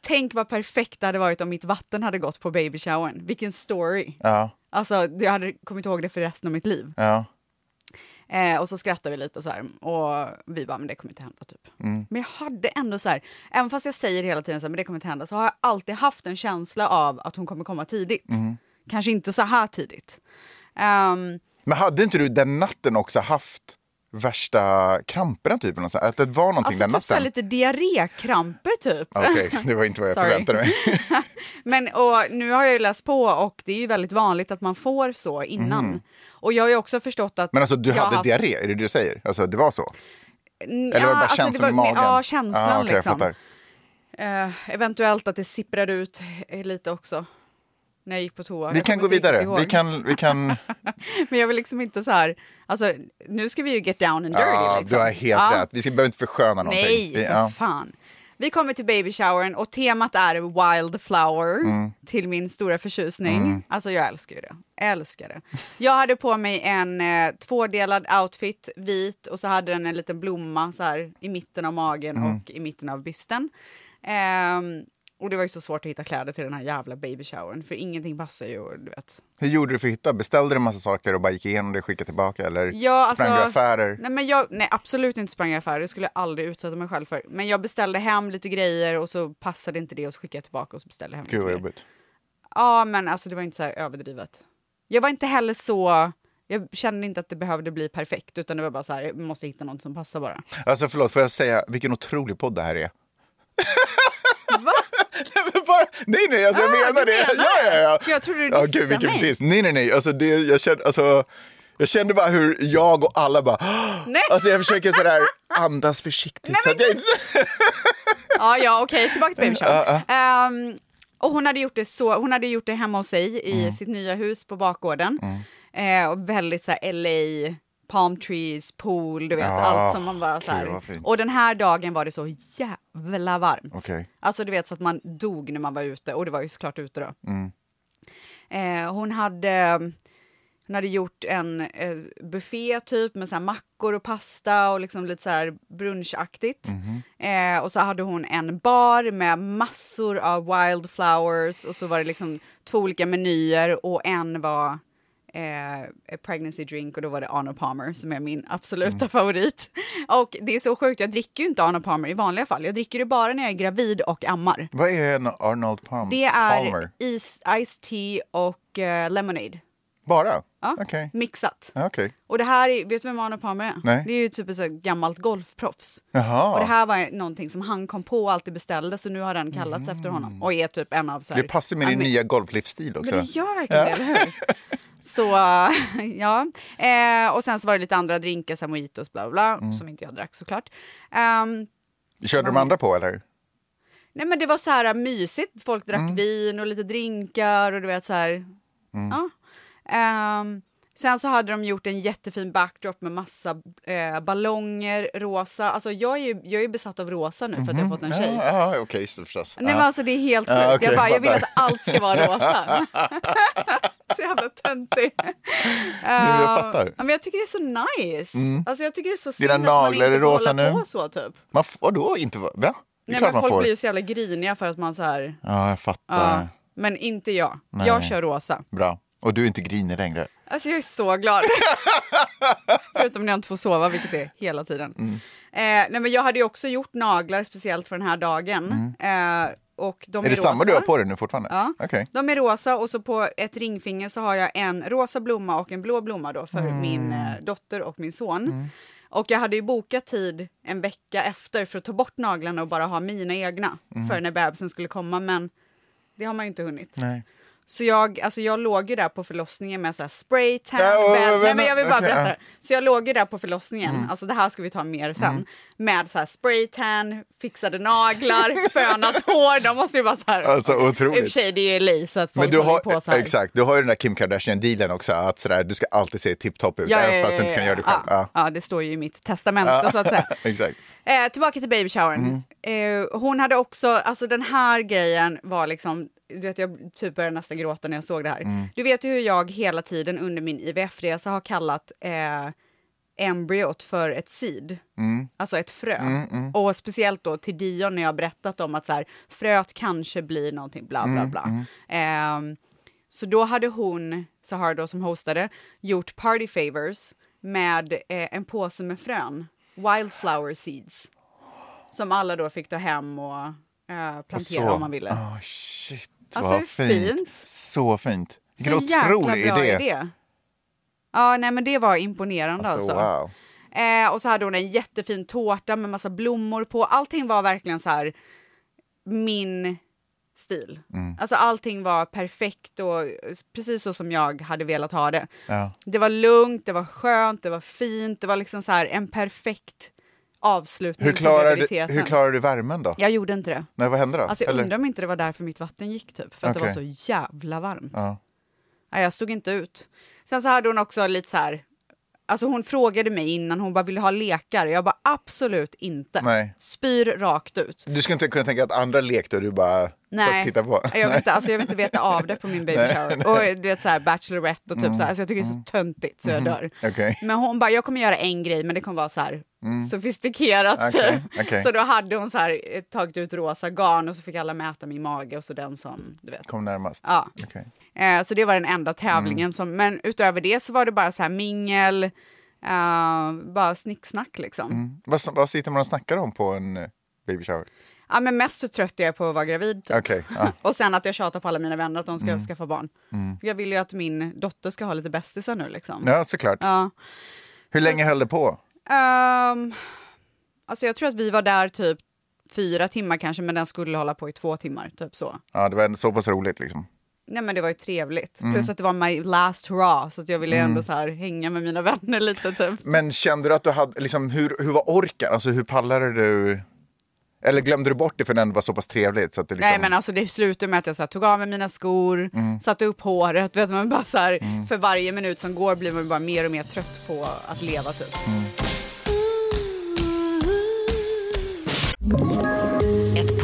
Speaker 1: tänk vad perfekt det hade varit om mitt vatten hade gått på baby showern. Vilken story.
Speaker 2: ja,
Speaker 1: Alltså, jag hade kommit ihåg det för resten av mitt liv.
Speaker 2: ja.
Speaker 1: Eh, och så skrattade vi lite så här. Och vi bara, men det kommer inte hända typ.
Speaker 2: Mm.
Speaker 1: Men jag hade ändå så här, även fast jag säger hela tiden så här, men det kommer inte hända, så har jag alltid haft en känsla av att hon kommer komma tidigt.
Speaker 2: Mm.
Speaker 1: Kanske inte så här tidigt. Ehm,
Speaker 2: Men hade inte du den natten också haft värsta kramperna typ? eller något sånt? Att det var någonting
Speaker 1: alltså typ så här
Speaker 2: den natten?
Speaker 1: lite diarrékramper typ.
Speaker 2: Okej, det var inte vad jag
Speaker 1: Sorry.
Speaker 2: förväntade mig.
Speaker 1: Men och nu har jag ju läst på och det är ju väldigt vanligt att man får så innan. Och jag har ju också förstått att...
Speaker 2: Mm. Men alltså du
Speaker 1: jag har
Speaker 2: hade
Speaker 1: haft-
Speaker 2: diarré, är det det du säger? Alltså det var så?
Speaker 1: Eller
Speaker 2: Eller var det bara känslan i magen?
Speaker 1: alltså, Ja, känslan
Speaker 2: Ah, okej, jag
Speaker 1: liksom.
Speaker 2: fattar.
Speaker 1: Eh, eventuellt att det sipprar ut eh, lite också. När jag gick på toa.
Speaker 2: Vi
Speaker 1: Jag
Speaker 2: kan
Speaker 1: kommer
Speaker 2: gå
Speaker 1: inte riktigt
Speaker 2: vidare.
Speaker 1: ihåg.
Speaker 2: Vi kan, vi kan...
Speaker 1: Men jag vill liksom inte så här. Alltså, nu ska vi ju get down and dirty.
Speaker 2: Ja,
Speaker 1: liksom.
Speaker 2: du har helt
Speaker 1: Ja.
Speaker 2: rätt. Vi ska, behöver inte försköna någonting.
Speaker 1: Nej,
Speaker 2: Vi,
Speaker 1: för
Speaker 2: ja.
Speaker 1: fan. Vi kommer till babyshowern och temat är wildflower
Speaker 2: Mm.
Speaker 1: till min stora förtjusning. Alltså jag älskar ju det. Älskar det. Jag hade på mig en eh, tvådelad outfit, vit och så hade den en liten blomma så här i mitten av magen
Speaker 2: Mm.
Speaker 1: och i mitten av bysten. Ehm, och det var ju så svårt att hitta kläder till den här jävla babyshowern för ingenting passar ju och du vet.
Speaker 2: Hur gjorde du för att hitta? Beställde du en massa saker och bara gick igenom det och skickade tillbaka? Eller
Speaker 1: Ja,
Speaker 2: sprang
Speaker 1: alltså-
Speaker 2: du affärer?
Speaker 1: Nej, men jag, nej, absolut inte sprang i affärer. Det skulle jag aldrig utsätta mig själv för. Men jag beställde hem lite grejer och så passade inte det och så skickade jag tillbaka och så beställde jag hem
Speaker 2: Gud vad
Speaker 1: lite mer.
Speaker 2: jobbigt.
Speaker 1: Ja, men alltså det var inte så här överdrivet. Jag var inte heller så... Jag kände inte att det behövde bli perfekt, utan det var bara så här, jag måste hitta något som passar bara.
Speaker 2: Alltså förlåt, får jag säga vilken otrolig podd det här är? nej, men bara, nej, nej, alltså jag
Speaker 1: Ah,
Speaker 2: menar
Speaker 1: du
Speaker 2: det.
Speaker 1: menar
Speaker 2: Ja, ja, ja.
Speaker 1: Gud, jag trodde du
Speaker 2: Ja,
Speaker 1: dissade
Speaker 2: gud, vilken
Speaker 1: mig.
Speaker 2: diss. Nej, nej, nej. Alltså, det, jag, kände, alltså, jag kände bara hur jag och alla bara...
Speaker 1: Nej.
Speaker 2: Alltså, jag försöker sådär andas försiktigt. så att jag inte...
Speaker 1: Ja, ja, okej, tillbaka till babyshow. Ehm, och hon hade, gjort det så, hon hade gjort det hemma hos sig i
Speaker 2: Mm.
Speaker 1: sitt nya hus på bakgården. Eh, och väldigt så här LA, palm trees, pool, du vet,
Speaker 2: Ah,
Speaker 1: allt som man bara så
Speaker 2: gud,
Speaker 1: här.
Speaker 2: vad fint.
Speaker 1: Och den här dagen var det så jävla varmt.
Speaker 2: Okej.
Speaker 1: Alltså du vet så att man dog när man var ute, och det var ju såklart ute då.
Speaker 2: Mm.
Speaker 1: Eh, hon hade... Hon hade gjort en eh, buffé typ med så här mackor och pasta och liksom lite så här brunchaktigt.
Speaker 2: Mhm.
Speaker 1: Eh, och så hade hon en bar med massor av wildflowers och så var det liksom två olika menyer och en var eh, a pregnancy drink och då var det Arnold Palmer som är min absoluta
Speaker 2: Mm.
Speaker 1: favorit. Och det är så sjukt, jag dricker ju inte Arnold Palmer i vanliga fall. Jag dricker det bara när jag är gravid och ammar.
Speaker 2: Vad är en Arnold Palm?
Speaker 1: Det är
Speaker 2: Palmer?
Speaker 1: is, iced tea och eh, lemonade.
Speaker 2: Bara?
Speaker 1: Ja,
Speaker 2: Okej.
Speaker 1: mixat.
Speaker 2: Ja, Okej.
Speaker 1: Och det här, är- vet du vem Arnold Palmer är?
Speaker 2: Nej.
Speaker 1: Det är ju typ ett så här gammalt golfproffs. Och
Speaker 2: Jaha.
Speaker 1: det här var någonting som han kom på och alltid beställde, så nu har den kallats efter honom. Och är typ en av så här...
Speaker 2: Mm. Det passar med din
Speaker 1: Amer-
Speaker 2: nya golflivsstil också.
Speaker 1: Men det gör verkligen det, eller hur? Så, ja. Eh, och sen så var det lite andra drinkar, så här mojitos, bla bla, bla,
Speaker 2: Mm.
Speaker 1: som inte jag drack såklart. Ehm,
Speaker 2: Körde de andra på eller?
Speaker 1: nej men det var så här äh, mysigt, folk drack
Speaker 2: Mm.
Speaker 1: vin och lite drinkar och du vet så här, ja. Ehm, sen så hade de gjort en jättefin backdrop med massa eh, ballonger, rosa. Alltså jag är ju jag är ju besatt av rosa nu för att jag har fått en
Speaker 2: Mhm. Ja,
Speaker 1: tjej.
Speaker 2: ja, okej, okay, förstås.
Speaker 1: Nej men
Speaker 2: Ja.
Speaker 1: alltså det är helt
Speaker 2: Ja,
Speaker 1: sjukt.
Speaker 2: okej,
Speaker 1: jag, bara, jag vill att
Speaker 2: fattar.
Speaker 1: allt ska vara rosa. så jävla töntig.
Speaker 2: jag
Speaker 1: Eh,
Speaker 2: fattar. Mm.
Speaker 1: ja, Men jag tycker det är så nice. Alltså jag tycker det är så synd
Speaker 2: Dina
Speaker 1: att man
Speaker 2: naglar
Speaker 1: inte
Speaker 2: är
Speaker 1: får
Speaker 2: rosa
Speaker 1: hålla
Speaker 2: nu.
Speaker 1: på så typ.
Speaker 2: Man f- vadå inte? Va? Va? Det är
Speaker 1: Nej
Speaker 2: klart
Speaker 1: men
Speaker 2: man
Speaker 1: folk
Speaker 2: får.
Speaker 1: blir ju så jävla griniga för att man så här.
Speaker 2: Ja, jag fattar.
Speaker 1: Ja, men inte jag.
Speaker 2: Nej.
Speaker 1: Jag kör rosa.
Speaker 2: Bra. Och du är inte grinig längre.
Speaker 1: Alltså jag är så glad. Förutom när jag inte får sova, vilket är hela tiden.
Speaker 2: Mm.
Speaker 1: Eh, nej men jag hade ju också gjort naglar speciellt för den här dagen. Eh, och de är,
Speaker 2: Mm. är det samma du
Speaker 1: rosa.
Speaker 2: har på dig nu fortfarande?
Speaker 1: Ja.
Speaker 2: Okej.
Speaker 1: De är rosa och så på ett ringfinger så har jag en rosa blomma och en blå blomma då för
Speaker 2: Mm.
Speaker 1: min eh, dotter och min son. Och jag hade ju bokat tid en vecka efter för att ta bort naglarna och bara ha mina egna
Speaker 2: Mm.
Speaker 1: för när bebisen skulle komma men det har man ju inte hunnit.
Speaker 2: Nej.
Speaker 1: Så jag, alltså jag låg ju där på förlossningen med så här spray, tan,
Speaker 2: Ja, och- och-
Speaker 1: bädd. Nej
Speaker 2: vänta,
Speaker 1: men jag vill bara
Speaker 2: okej,
Speaker 1: berätta.
Speaker 2: ja. Mm.
Speaker 1: det. Så jag låg ju där på förlossningen, alltså det här ska vi ta mer sen. Med så här spray, tan, fixade naglar, fönat hår. De måste ju vara så här.
Speaker 2: Alltså
Speaker 1: I och för
Speaker 2: otroligt.
Speaker 1: sig, det är ju LA så att folk
Speaker 2: Men du har,
Speaker 1: håller på så här.
Speaker 2: exakt, du har ju den där Kim Kardashian-dealen också, att sådär, du ska alltid se tipptopp ut, även fast du inte kan göra det själv.
Speaker 1: Ja, ja, det står ju i mitt testamente så att säga.
Speaker 2: exakt.
Speaker 1: Eh, tillbaka till babyshowern.
Speaker 2: Mm.
Speaker 1: Eh, hon hade också, alltså den här grejen var liksom, du vet, jag typ började nästan gråta när jag såg det här.
Speaker 2: Mm.
Speaker 1: Du vet ju hur jag hela tiden under min IVF-resa har kallat eh, embryot för ett seed,
Speaker 2: Mm.
Speaker 1: alltså ett frö. Och speciellt då till Dion när jag har berättat om att så här, fröet kanske blir någonting, bla bla
Speaker 2: Mm,
Speaker 1: bla. Ehm, så då hade hon, Sahar då som hostade, gjort party favors med eh, en påse med frön, wildflower seeds, som alla då fick ta hem och eh, plantera
Speaker 2: Så.
Speaker 1: om man ville.
Speaker 2: Ah, shit,
Speaker 1: Alltså,
Speaker 2: vad
Speaker 1: hur
Speaker 2: fint.
Speaker 1: fint.
Speaker 2: Så fint.
Speaker 1: Så
Speaker 2: Vilken
Speaker 1: jäkla bra
Speaker 2: otrolig idé.
Speaker 1: idé. Ja, nej men det var imponerande alltså.
Speaker 2: Alltså, wow.
Speaker 1: Eh, och så hade hon en jättefin tårta med massa blommor på. Allting var verkligen så här min stil. Alltså allting var perfekt och precis så som jag hade velat ha det.
Speaker 2: Ja.
Speaker 1: Det var lugnt, det var skönt, det var fint, det var liksom så här en perfekt avslutning
Speaker 2: Hur,
Speaker 1: på
Speaker 2: klarar du,
Speaker 1: graviditeten.
Speaker 2: hur klarar du värmen då?
Speaker 1: Jag gjorde inte det.
Speaker 2: Nej, vad hände då?
Speaker 1: Alltså jag
Speaker 2: Eller-
Speaker 1: undrar om inte det var därför mitt vatten gick typ. För att det var
Speaker 2: Okej.
Speaker 1: så jävla varmt.
Speaker 2: Ja.
Speaker 1: Nej, jag stod inte ut. Sen så hade hon också lite så här... Alltså hon frågade mig innan, hon bara ville ha lekar. Jag bara absolut inte.
Speaker 2: Nej.
Speaker 1: Spyr rakt ut.
Speaker 2: Du skulle inte kunna tänka att andra lekte och du bara
Speaker 1: Nej,
Speaker 2: satt och tittade på?
Speaker 1: Jag, vill inte, alltså jag vill inte veta av det på min baby shower. Och du vet så här Bachelorette och typ
Speaker 2: Mm.
Speaker 1: så här. Alltså jag tycker det är så töntigt
Speaker 2: Mm-hmm.
Speaker 1: så jag dör.
Speaker 2: Okej.
Speaker 1: Men hon bara, jag kommer göra en grej men det kommer vara så här sofistikerat.
Speaker 2: Mm. Okej,
Speaker 1: typ.
Speaker 2: okej.
Speaker 1: Så då hade hon så här eh, tagit ut rosa garn och så fick alla mäta min mage och så den som, du vet.
Speaker 2: Kom närmast?
Speaker 1: Ja.
Speaker 2: Okej.
Speaker 1: Eh, så det var den enda tävlingen.
Speaker 2: Mm.
Speaker 1: Som, men utöver det så var det bara så här mingel, eh, bara snicksnack liksom.
Speaker 2: Mm. Vad, vad sitter man och snackar om på en eh, baby shower?
Speaker 1: Ja, men mest hur trött jag är på att vara gravid. Typ.
Speaker 2: Okej, ja. Mm.
Speaker 1: Och sen att jag tjatar på alla mina vänner att de ska skaffa barn. Jag vill ju att min dotter ska ha lite bästisar nu liksom.
Speaker 2: ja, såklart.
Speaker 1: Ja.
Speaker 2: Hur länge höll det på?
Speaker 1: Ehm, alltså jag tror att vi var där typ fyra timmar kanske, men den skulle hålla på i två timmar, typ så.
Speaker 2: Ja, det var ändå så pass roligt liksom.
Speaker 1: Nej men det var ju trevligt. Plus att det var my last hurrah, så att jag ville ändå så här hänga med mina vänner lite typ.
Speaker 2: Men kände du att du hade, liksom, hur, hur var orken? Alltså hur pallade du? Eller glömde du bort det för den var så pass trevligt? Så att du liksom...
Speaker 1: Nej men alltså det slutade med att jag så här, tog av mig mina skor, satte upp håret, vet man bara så här, för varje minut som går blir man bara mer och mer trött på att leva typ.
Speaker 6: Ett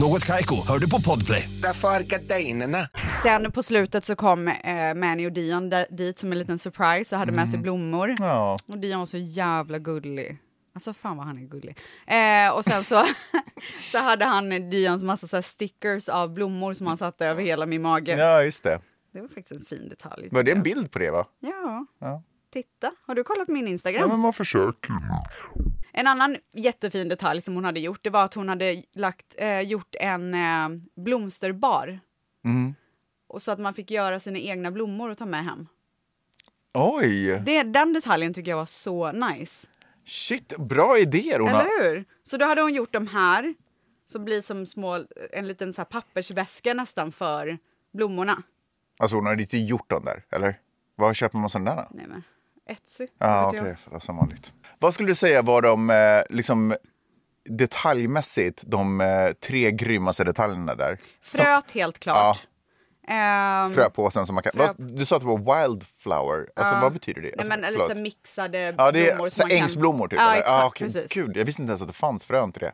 Speaker 7: Något Kaiko, hör du på Podplay.
Speaker 8: Därför är gardinerna.
Speaker 1: Sen på slutet så kom eh, Manny och Dion d- dit som en liten surprise och hade med sig blommor.
Speaker 2: Ja.
Speaker 1: Och Dion var så jävla gullig. Alltså fan vad han är gullig. Eh, och sen så, så hade han Dions massa så här stickers av blommor som han satte över hela min mage.
Speaker 2: ja, just det.
Speaker 1: Det var faktiskt en fin detalj.
Speaker 2: Var det
Speaker 1: tycker
Speaker 2: en
Speaker 1: jag.
Speaker 2: bild på det va?
Speaker 1: Ja.
Speaker 2: Ja.
Speaker 1: Titta, har du kollat på min Instagram?
Speaker 2: Ja, men man försöker.
Speaker 1: En annan jättefin detalj som hon hade gjort det var att hon hade lagt, eh, gjort en eh, blomsterbar.
Speaker 2: Mm.
Speaker 1: Och så att man fick göra sina egna blommor och ta med hem.
Speaker 2: Oj,
Speaker 1: Det, den detaljen tycker jag var så nice.
Speaker 2: shit, bra idéer Ona.
Speaker 1: Eller hur? Så då hade hon gjort de här som blir som små, en liten så här pappersväska nästan för blommorna.
Speaker 2: Alltså hon har inte gjort dem där, eller? Var köper man sådana där? då?
Speaker 1: Nej men, Etsy.
Speaker 2: Ja,
Speaker 1: vad vet
Speaker 2: Ah, okej,
Speaker 1: jag.
Speaker 2: okay, som vanligt. Vad skulle du säga var de, eh, liksom, detaljmässigt, de eh, tre grymmaste detaljerna där?
Speaker 1: Fröt helt klart. Ehm,
Speaker 2: Fröpåsen som man kan...
Speaker 1: Frö-
Speaker 2: Vad, du sa att det var wildflower, alltså vad betyder det?
Speaker 1: Nej,
Speaker 2: Alltså,
Speaker 1: men, eller
Speaker 2: förlåt.
Speaker 1: så här mixade blommor.
Speaker 2: ja, det är
Speaker 1: som
Speaker 2: så
Speaker 1: man
Speaker 2: här
Speaker 1: kan-
Speaker 2: ängsblommor typ?
Speaker 1: Ja,
Speaker 2: eller?
Speaker 1: exakt.
Speaker 2: ah, okej,
Speaker 1: precis.
Speaker 2: Gud, jag visste inte ens att det fanns frön till det.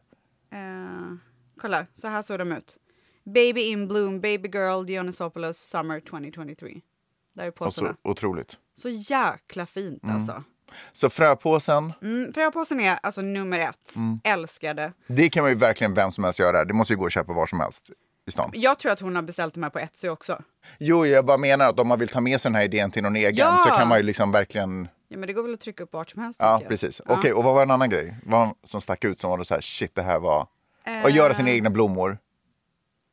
Speaker 1: Eh, kolla, så här såg de ut. Baby in bloom, baby girl, Dionysopoulos, summer 2023. Där är
Speaker 2: Och så, Mm.
Speaker 1: påsarna.
Speaker 2: Alltså, otroligt.
Speaker 1: Så jäkla fint alltså.
Speaker 2: Så fröpåsen,
Speaker 1: Mm, för jag påsen är alltså nummer ett.
Speaker 2: Mm.
Speaker 1: Älskade.
Speaker 2: det kan man ju verkligen vem som helst göra. Det måste ju gå att köpa var som helst i stan.
Speaker 1: Jag tror att hon har beställt de här på Etsy också.
Speaker 2: Jo, jag bara menar att om man vill ta med sig den här idén till någon egen
Speaker 1: Ja.
Speaker 2: så kan man ju liksom verkligen...
Speaker 1: Ja men det går väl att trycka upp vart som helst.
Speaker 2: Ja,
Speaker 1: tänker jag.
Speaker 2: precis.
Speaker 1: Ja.
Speaker 2: Okej, och vad var en annan
Speaker 1: Eh.
Speaker 2: grej? Vad som stack ut som var då så här, shit, det här var... Att göra sina egna blommor.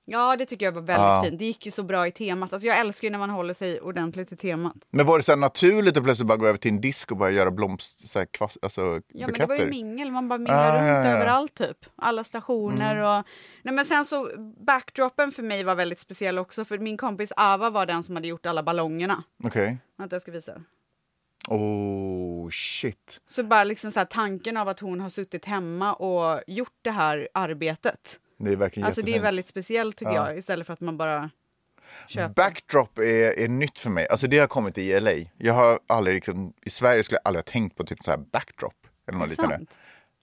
Speaker 1: Ja, det tycker jag var väldigt
Speaker 2: Ja.
Speaker 1: fint. Det gick ju så bra i temat. Alltså, jag älskar ju när man håller sig ordentligt i temat.
Speaker 2: Men var det så här naturligt att plötsligt bara gå över till en disk och börja göra blomst, så här, kvast, alltså,
Speaker 1: Ja, men det
Speaker 2: buketter?
Speaker 1: var ju mingel. Man bara minglade
Speaker 2: Ah, ja,
Speaker 1: runt
Speaker 2: ja. Mm.
Speaker 1: överallt, typ. Alla stationer och... Nej, men sen så, backdropen för mig var väldigt speciell också. För min kompis Ava var den som hade gjort alla ballongerna.
Speaker 2: Okej.
Speaker 1: Vänta, jag ska visa.
Speaker 2: Oh, shit.
Speaker 1: Så bara liksom så här, tanken av att hon har suttit hemma och gjort det här arbetet.
Speaker 2: Det är verkligen
Speaker 1: Alltså det är
Speaker 2: jättefint.
Speaker 1: väldigt speciellt tycker
Speaker 2: Ja.
Speaker 1: jag. Istället för att man bara köper.
Speaker 2: Backdrop är, är nytt för mig. Alltså det har kommit i LA. Jag har aldrig, liksom, I Sverige skulle jag aldrig ha tänkt på typ så här backdrop. Eller något
Speaker 1: Är det
Speaker 2: liknande.
Speaker 1: sant?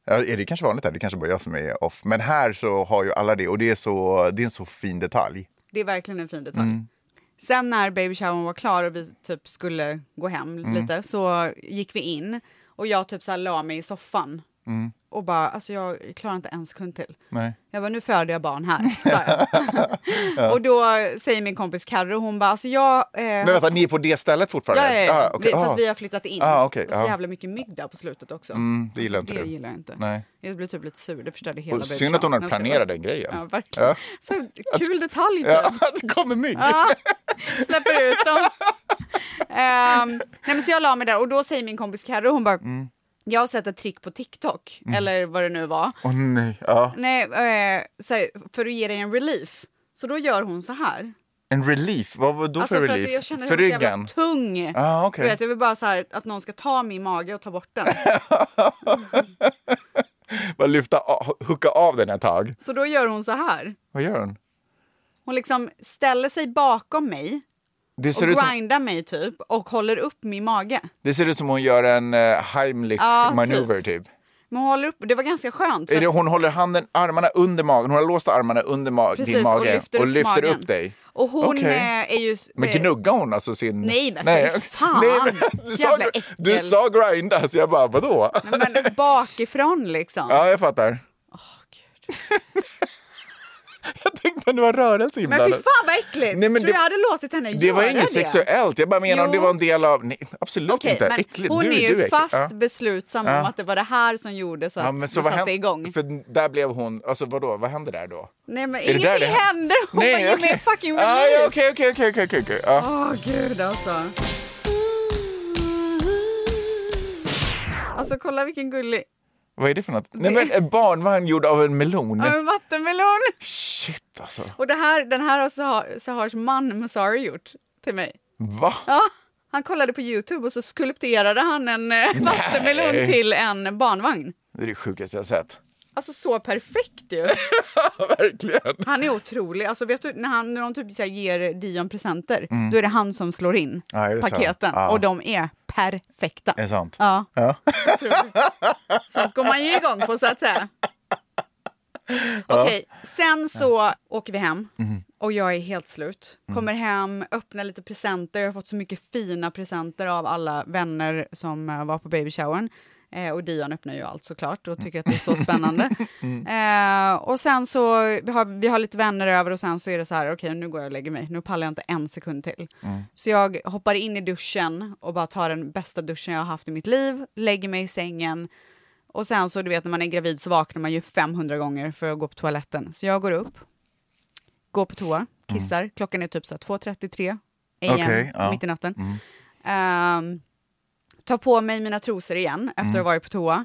Speaker 2: Ja, är det kanske vanligt här? Det kanske bara jag som är off. Men här så har ju alla det och det är, så, det är en så fin detalj.
Speaker 1: Det är verkligen en fin detalj.
Speaker 2: Mm.
Speaker 1: Sen när baby showern var klar och vi typ skulle gå hem
Speaker 2: Mm.
Speaker 1: lite så gick vi in och jag typ så här la mig i soffan
Speaker 2: Mm.
Speaker 1: och bara alltså jag klarar inte en sekund till.
Speaker 2: Nej.
Speaker 1: Jag bara nu föder jag barn här. Så här. och då säger min kompis Carro hon bara alltså jag eh,
Speaker 2: Men vänta, ni är på det stället fortfarande?
Speaker 1: Ja, ja, ja.
Speaker 2: Ah, okej.
Speaker 1: vi, fast
Speaker 2: Ah.
Speaker 1: vi har flyttat in.
Speaker 2: Ah, okej,
Speaker 1: Det var så
Speaker 2: ja.
Speaker 1: jävla mycket mygg där på slutet också. Alltså,
Speaker 2: Mm, det gillar inte
Speaker 1: det
Speaker 2: du.
Speaker 1: gillar jag inte.
Speaker 2: Nej.
Speaker 1: Jag blev typ lite sur, det förstörde hela
Speaker 2: Och
Speaker 1: baby
Speaker 2: synd att hon hade
Speaker 1: showern.
Speaker 2: planerat den grejen.
Speaker 1: Ja, verkligen.
Speaker 2: Ja.
Speaker 1: Så kul detalj typ.
Speaker 2: Ja, det kommer mygg.
Speaker 1: Ja, släpper ut dem. Ehm, nej men så jag la mig där och då säger min kompis Carro, hon bara,
Speaker 2: Mm.
Speaker 1: jag har sett ett trick på TikTok, eller vad det nu var.
Speaker 2: Åh nej. Ja.
Speaker 1: Nej, eh, så här, för att ge dig en relief. Så då gör hon så här.
Speaker 2: En relief? Vad var då
Speaker 1: Alltså
Speaker 2: för
Speaker 1: för
Speaker 2: relief?
Speaker 1: att jag känner
Speaker 2: för
Speaker 1: mig så jävla
Speaker 2: ryggen?
Speaker 1: tung.
Speaker 2: Ah, okej.
Speaker 1: Du vet, jag vill bara så här, att någon ska ta min mage och ta bort den.
Speaker 2: Bara lyfta, a- hucka av den ett tag.
Speaker 1: Så då gör hon så här.
Speaker 2: Vad gör hon?
Speaker 1: Hon liksom ställer sig bakom mig
Speaker 2: Det
Speaker 1: och
Speaker 2: ser, ut som,
Speaker 1: grindar mig typ och håller upp min mage.
Speaker 2: det ser ut som hon gör en eh, Heimlich
Speaker 1: Ja, typ.
Speaker 2: manöver typ.
Speaker 1: Men hon håller upp, det var ganska skönt. för
Speaker 2: Är det, hon håller handen, armarna under magen, hon har låst armarna under ma-
Speaker 1: Precis,
Speaker 2: din mage
Speaker 1: och lyfter, upp, magen.
Speaker 2: upp dig.
Speaker 1: Och hon
Speaker 2: Okej.
Speaker 1: eh, är ju...
Speaker 2: Men
Speaker 1: eh,
Speaker 2: gnuggar hon alltså sin...
Speaker 1: Nej, men för fan.
Speaker 2: du, sa,
Speaker 1: Jävla äckel.
Speaker 2: du sa grinda, så jag bara vadå?
Speaker 1: nej, men bakifrån liksom.
Speaker 2: Ja, jag fattar. jag tänkte att det var rörelse
Speaker 1: Men fy
Speaker 2: inblandat.
Speaker 1: fan vad äckligt!
Speaker 2: Nej,
Speaker 1: Eh,
Speaker 2: men
Speaker 1: Tror
Speaker 2: det-
Speaker 1: jag hade låtit henne
Speaker 2: Det
Speaker 1: göra
Speaker 2: var inget
Speaker 1: det.
Speaker 2: sexuellt, jag bara menar om det
Speaker 1: Jo.
Speaker 2: var en del av... Nej, absolut
Speaker 1: Okej,
Speaker 2: inte.
Speaker 1: men
Speaker 2: Äckligt.
Speaker 1: Hon
Speaker 2: nu
Speaker 1: är ju
Speaker 2: du äcklig.
Speaker 1: fast
Speaker 2: Ja.
Speaker 1: beslutsam om att det var det här som gjorde så att
Speaker 2: Ja, men så
Speaker 1: det
Speaker 2: vad
Speaker 1: satte
Speaker 2: hände,
Speaker 1: igång.
Speaker 2: För där blev hon, alltså vadå, vad hände där då?
Speaker 1: Nej men
Speaker 2: det där
Speaker 1: ingenting
Speaker 2: det-
Speaker 1: händer! Hon bara ge mig
Speaker 2: okej.
Speaker 1: en fucking
Speaker 2: Ja,
Speaker 1: relief!
Speaker 2: ja, Okej, okej, okej, okej, okej, okej. Ja.
Speaker 1: Åh gud alltså. Alltså kolla vilken gullig.
Speaker 2: Vad är det för något? Nej men en barnvagn gjord av en melon.
Speaker 1: Ja men vattenmelon!
Speaker 2: Shit alltså.
Speaker 1: Och det här, den här har Sahar, Sahars man Masari gjort till mig.
Speaker 2: Va?
Speaker 1: Ja, han kollade på Youtube och så skulpterade han en eh, vattenmelon till en barnvagn.
Speaker 2: Det är det sjukaste jag sett.
Speaker 1: Alltså så perfekt ju.
Speaker 2: Verkligen.
Speaker 1: Han är otrolig. Alltså vet du, när, han, när de typ så här ger Dion presenter, då är det han som slår in
Speaker 2: Mm. Ja, är det så?
Speaker 1: paketen.
Speaker 2: Ja.
Speaker 1: Och de är perfekta.
Speaker 2: Är det sant?
Speaker 1: Ja,
Speaker 2: Ja.
Speaker 1: otroligt. Sånt går man ju igång på så att säga. Okej, sen så åker vi hem och jag är helt slut. Kommer hem, öppnar lite presenter. Jag har fått så mycket fina presenter av alla vänner som eh, var på babyshowern. Eh, och Dion öppnar ju allt såklart och tycker att det är så spännande. eh, och sen så, vi har, vi har lite vänner över och sen så är det så här, okej nu går jag och lägger mig, nu pallar jag inte en sekund till. Så jag hoppar in i duschen och bara tar den bästa duschen jag har haft i mitt liv, lägger mig i sängen, och sen så du vet när man är gravid så vaknar man ju 500 gånger för att gå på toaletten. Så jag går upp, går på toa, kissar. Klockan är typ så här 2.33 am,
Speaker 2: Mm. Okej, ja. Mm.
Speaker 1: mitt i natten. Ehm, tar på mig mina trosor igen efter
Speaker 2: Mm.
Speaker 1: att ha varit på toa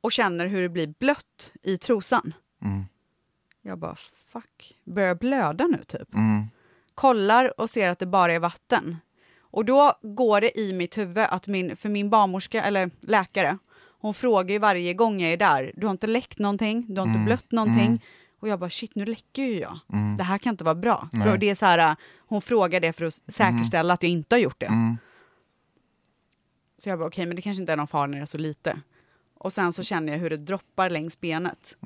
Speaker 1: och känner hur det blir blött i trosan.
Speaker 2: Mm.
Speaker 1: Jag bara fuck, börjar jag blöda nu typ? Kollar och ser att det bara är vatten. Och då går det i mitt huvud att min, för min barnmorska eller läkare, hon frågar ju varje gång jag är där, du har inte läckt någonting, du har inte blött någonting. Och jag bara shit, nu läcker ju jag. Det här kan inte vara bra. För det är så här, hon frågar det för att säkerställa att jag inte har gjort det. Så jag bara okej, men det kanske inte är någon fara när det är så lite. Och sen så känner jag hur det droppar längs benet.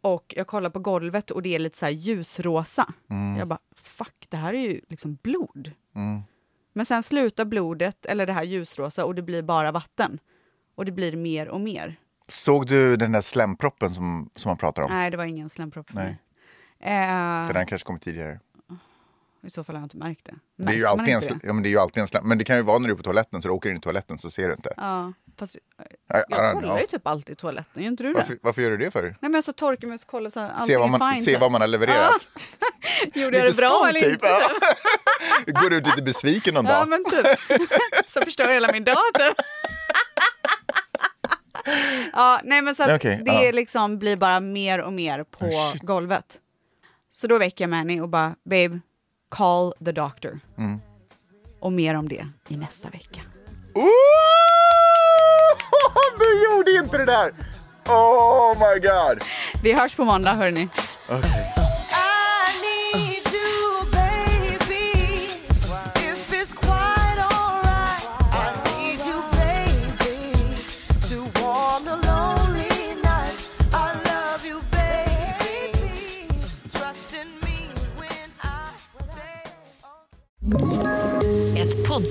Speaker 1: Och jag kollar på golvet och det är lite så här ljusrosa.
Speaker 2: Mm.
Speaker 1: Jag bara fuck, det här är ju liksom blod. Men sen slutar blodet, eller det här ljusrosa, och det blir bara vatten. Och det blir mer och mer.
Speaker 2: Såg du den där slemproppen som, som man pratar om?
Speaker 1: Nej, det var ingen slempropp för
Speaker 2: Nej.
Speaker 1: mig. Eh,
Speaker 2: Den där kanske kommer tidigare.
Speaker 1: I så fall har jag inte märkt det.
Speaker 2: Det är,
Speaker 1: Märker
Speaker 2: ju
Speaker 1: man
Speaker 2: alltid en
Speaker 1: inte
Speaker 2: sl- ja, men det är ju alltid en släm. Men det kan ju vara när du är på toaletten så du åker in i toaletten så ser du inte.
Speaker 1: Ja, fast
Speaker 2: I- I don't
Speaker 1: jag kollar
Speaker 2: know.
Speaker 1: ju typ alltid i toaletten, gör inte du det?
Speaker 2: varför, varför gör du det för?
Speaker 1: Nej men jag så torkar mig och så kollar så här,
Speaker 2: Se
Speaker 1: allting
Speaker 2: vad,
Speaker 1: är
Speaker 2: man,
Speaker 1: fine.
Speaker 2: se
Speaker 1: typ.
Speaker 2: vad man har levererat.
Speaker 1: Gjorde jag det bra
Speaker 2: stolt,
Speaker 1: eller
Speaker 2: typ.
Speaker 1: inte?
Speaker 2: Ja. typ. Går ut lite besviken någon
Speaker 1: Ja,
Speaker 2: dag.
Speaker 1: men typ. Så förstör hela min dag typ. Ja, nej men så att
Speaker 2: Okej,
Speaker 1: det
Speaker 2: ja. Ah,
Speaker 1: liksom blir bara mer och mer på golvet. Så då väcker jag Manny och bara, babe, call the doctor.
Speaker 2: Mm.
Speaker 1: Och mer om det i nästa vecka.
Speaker 2: Oh, vi gjorde inte det där! Oh my god!
Speaker 1: Vi hörs på måndag hörni.
Speaker 6: Ett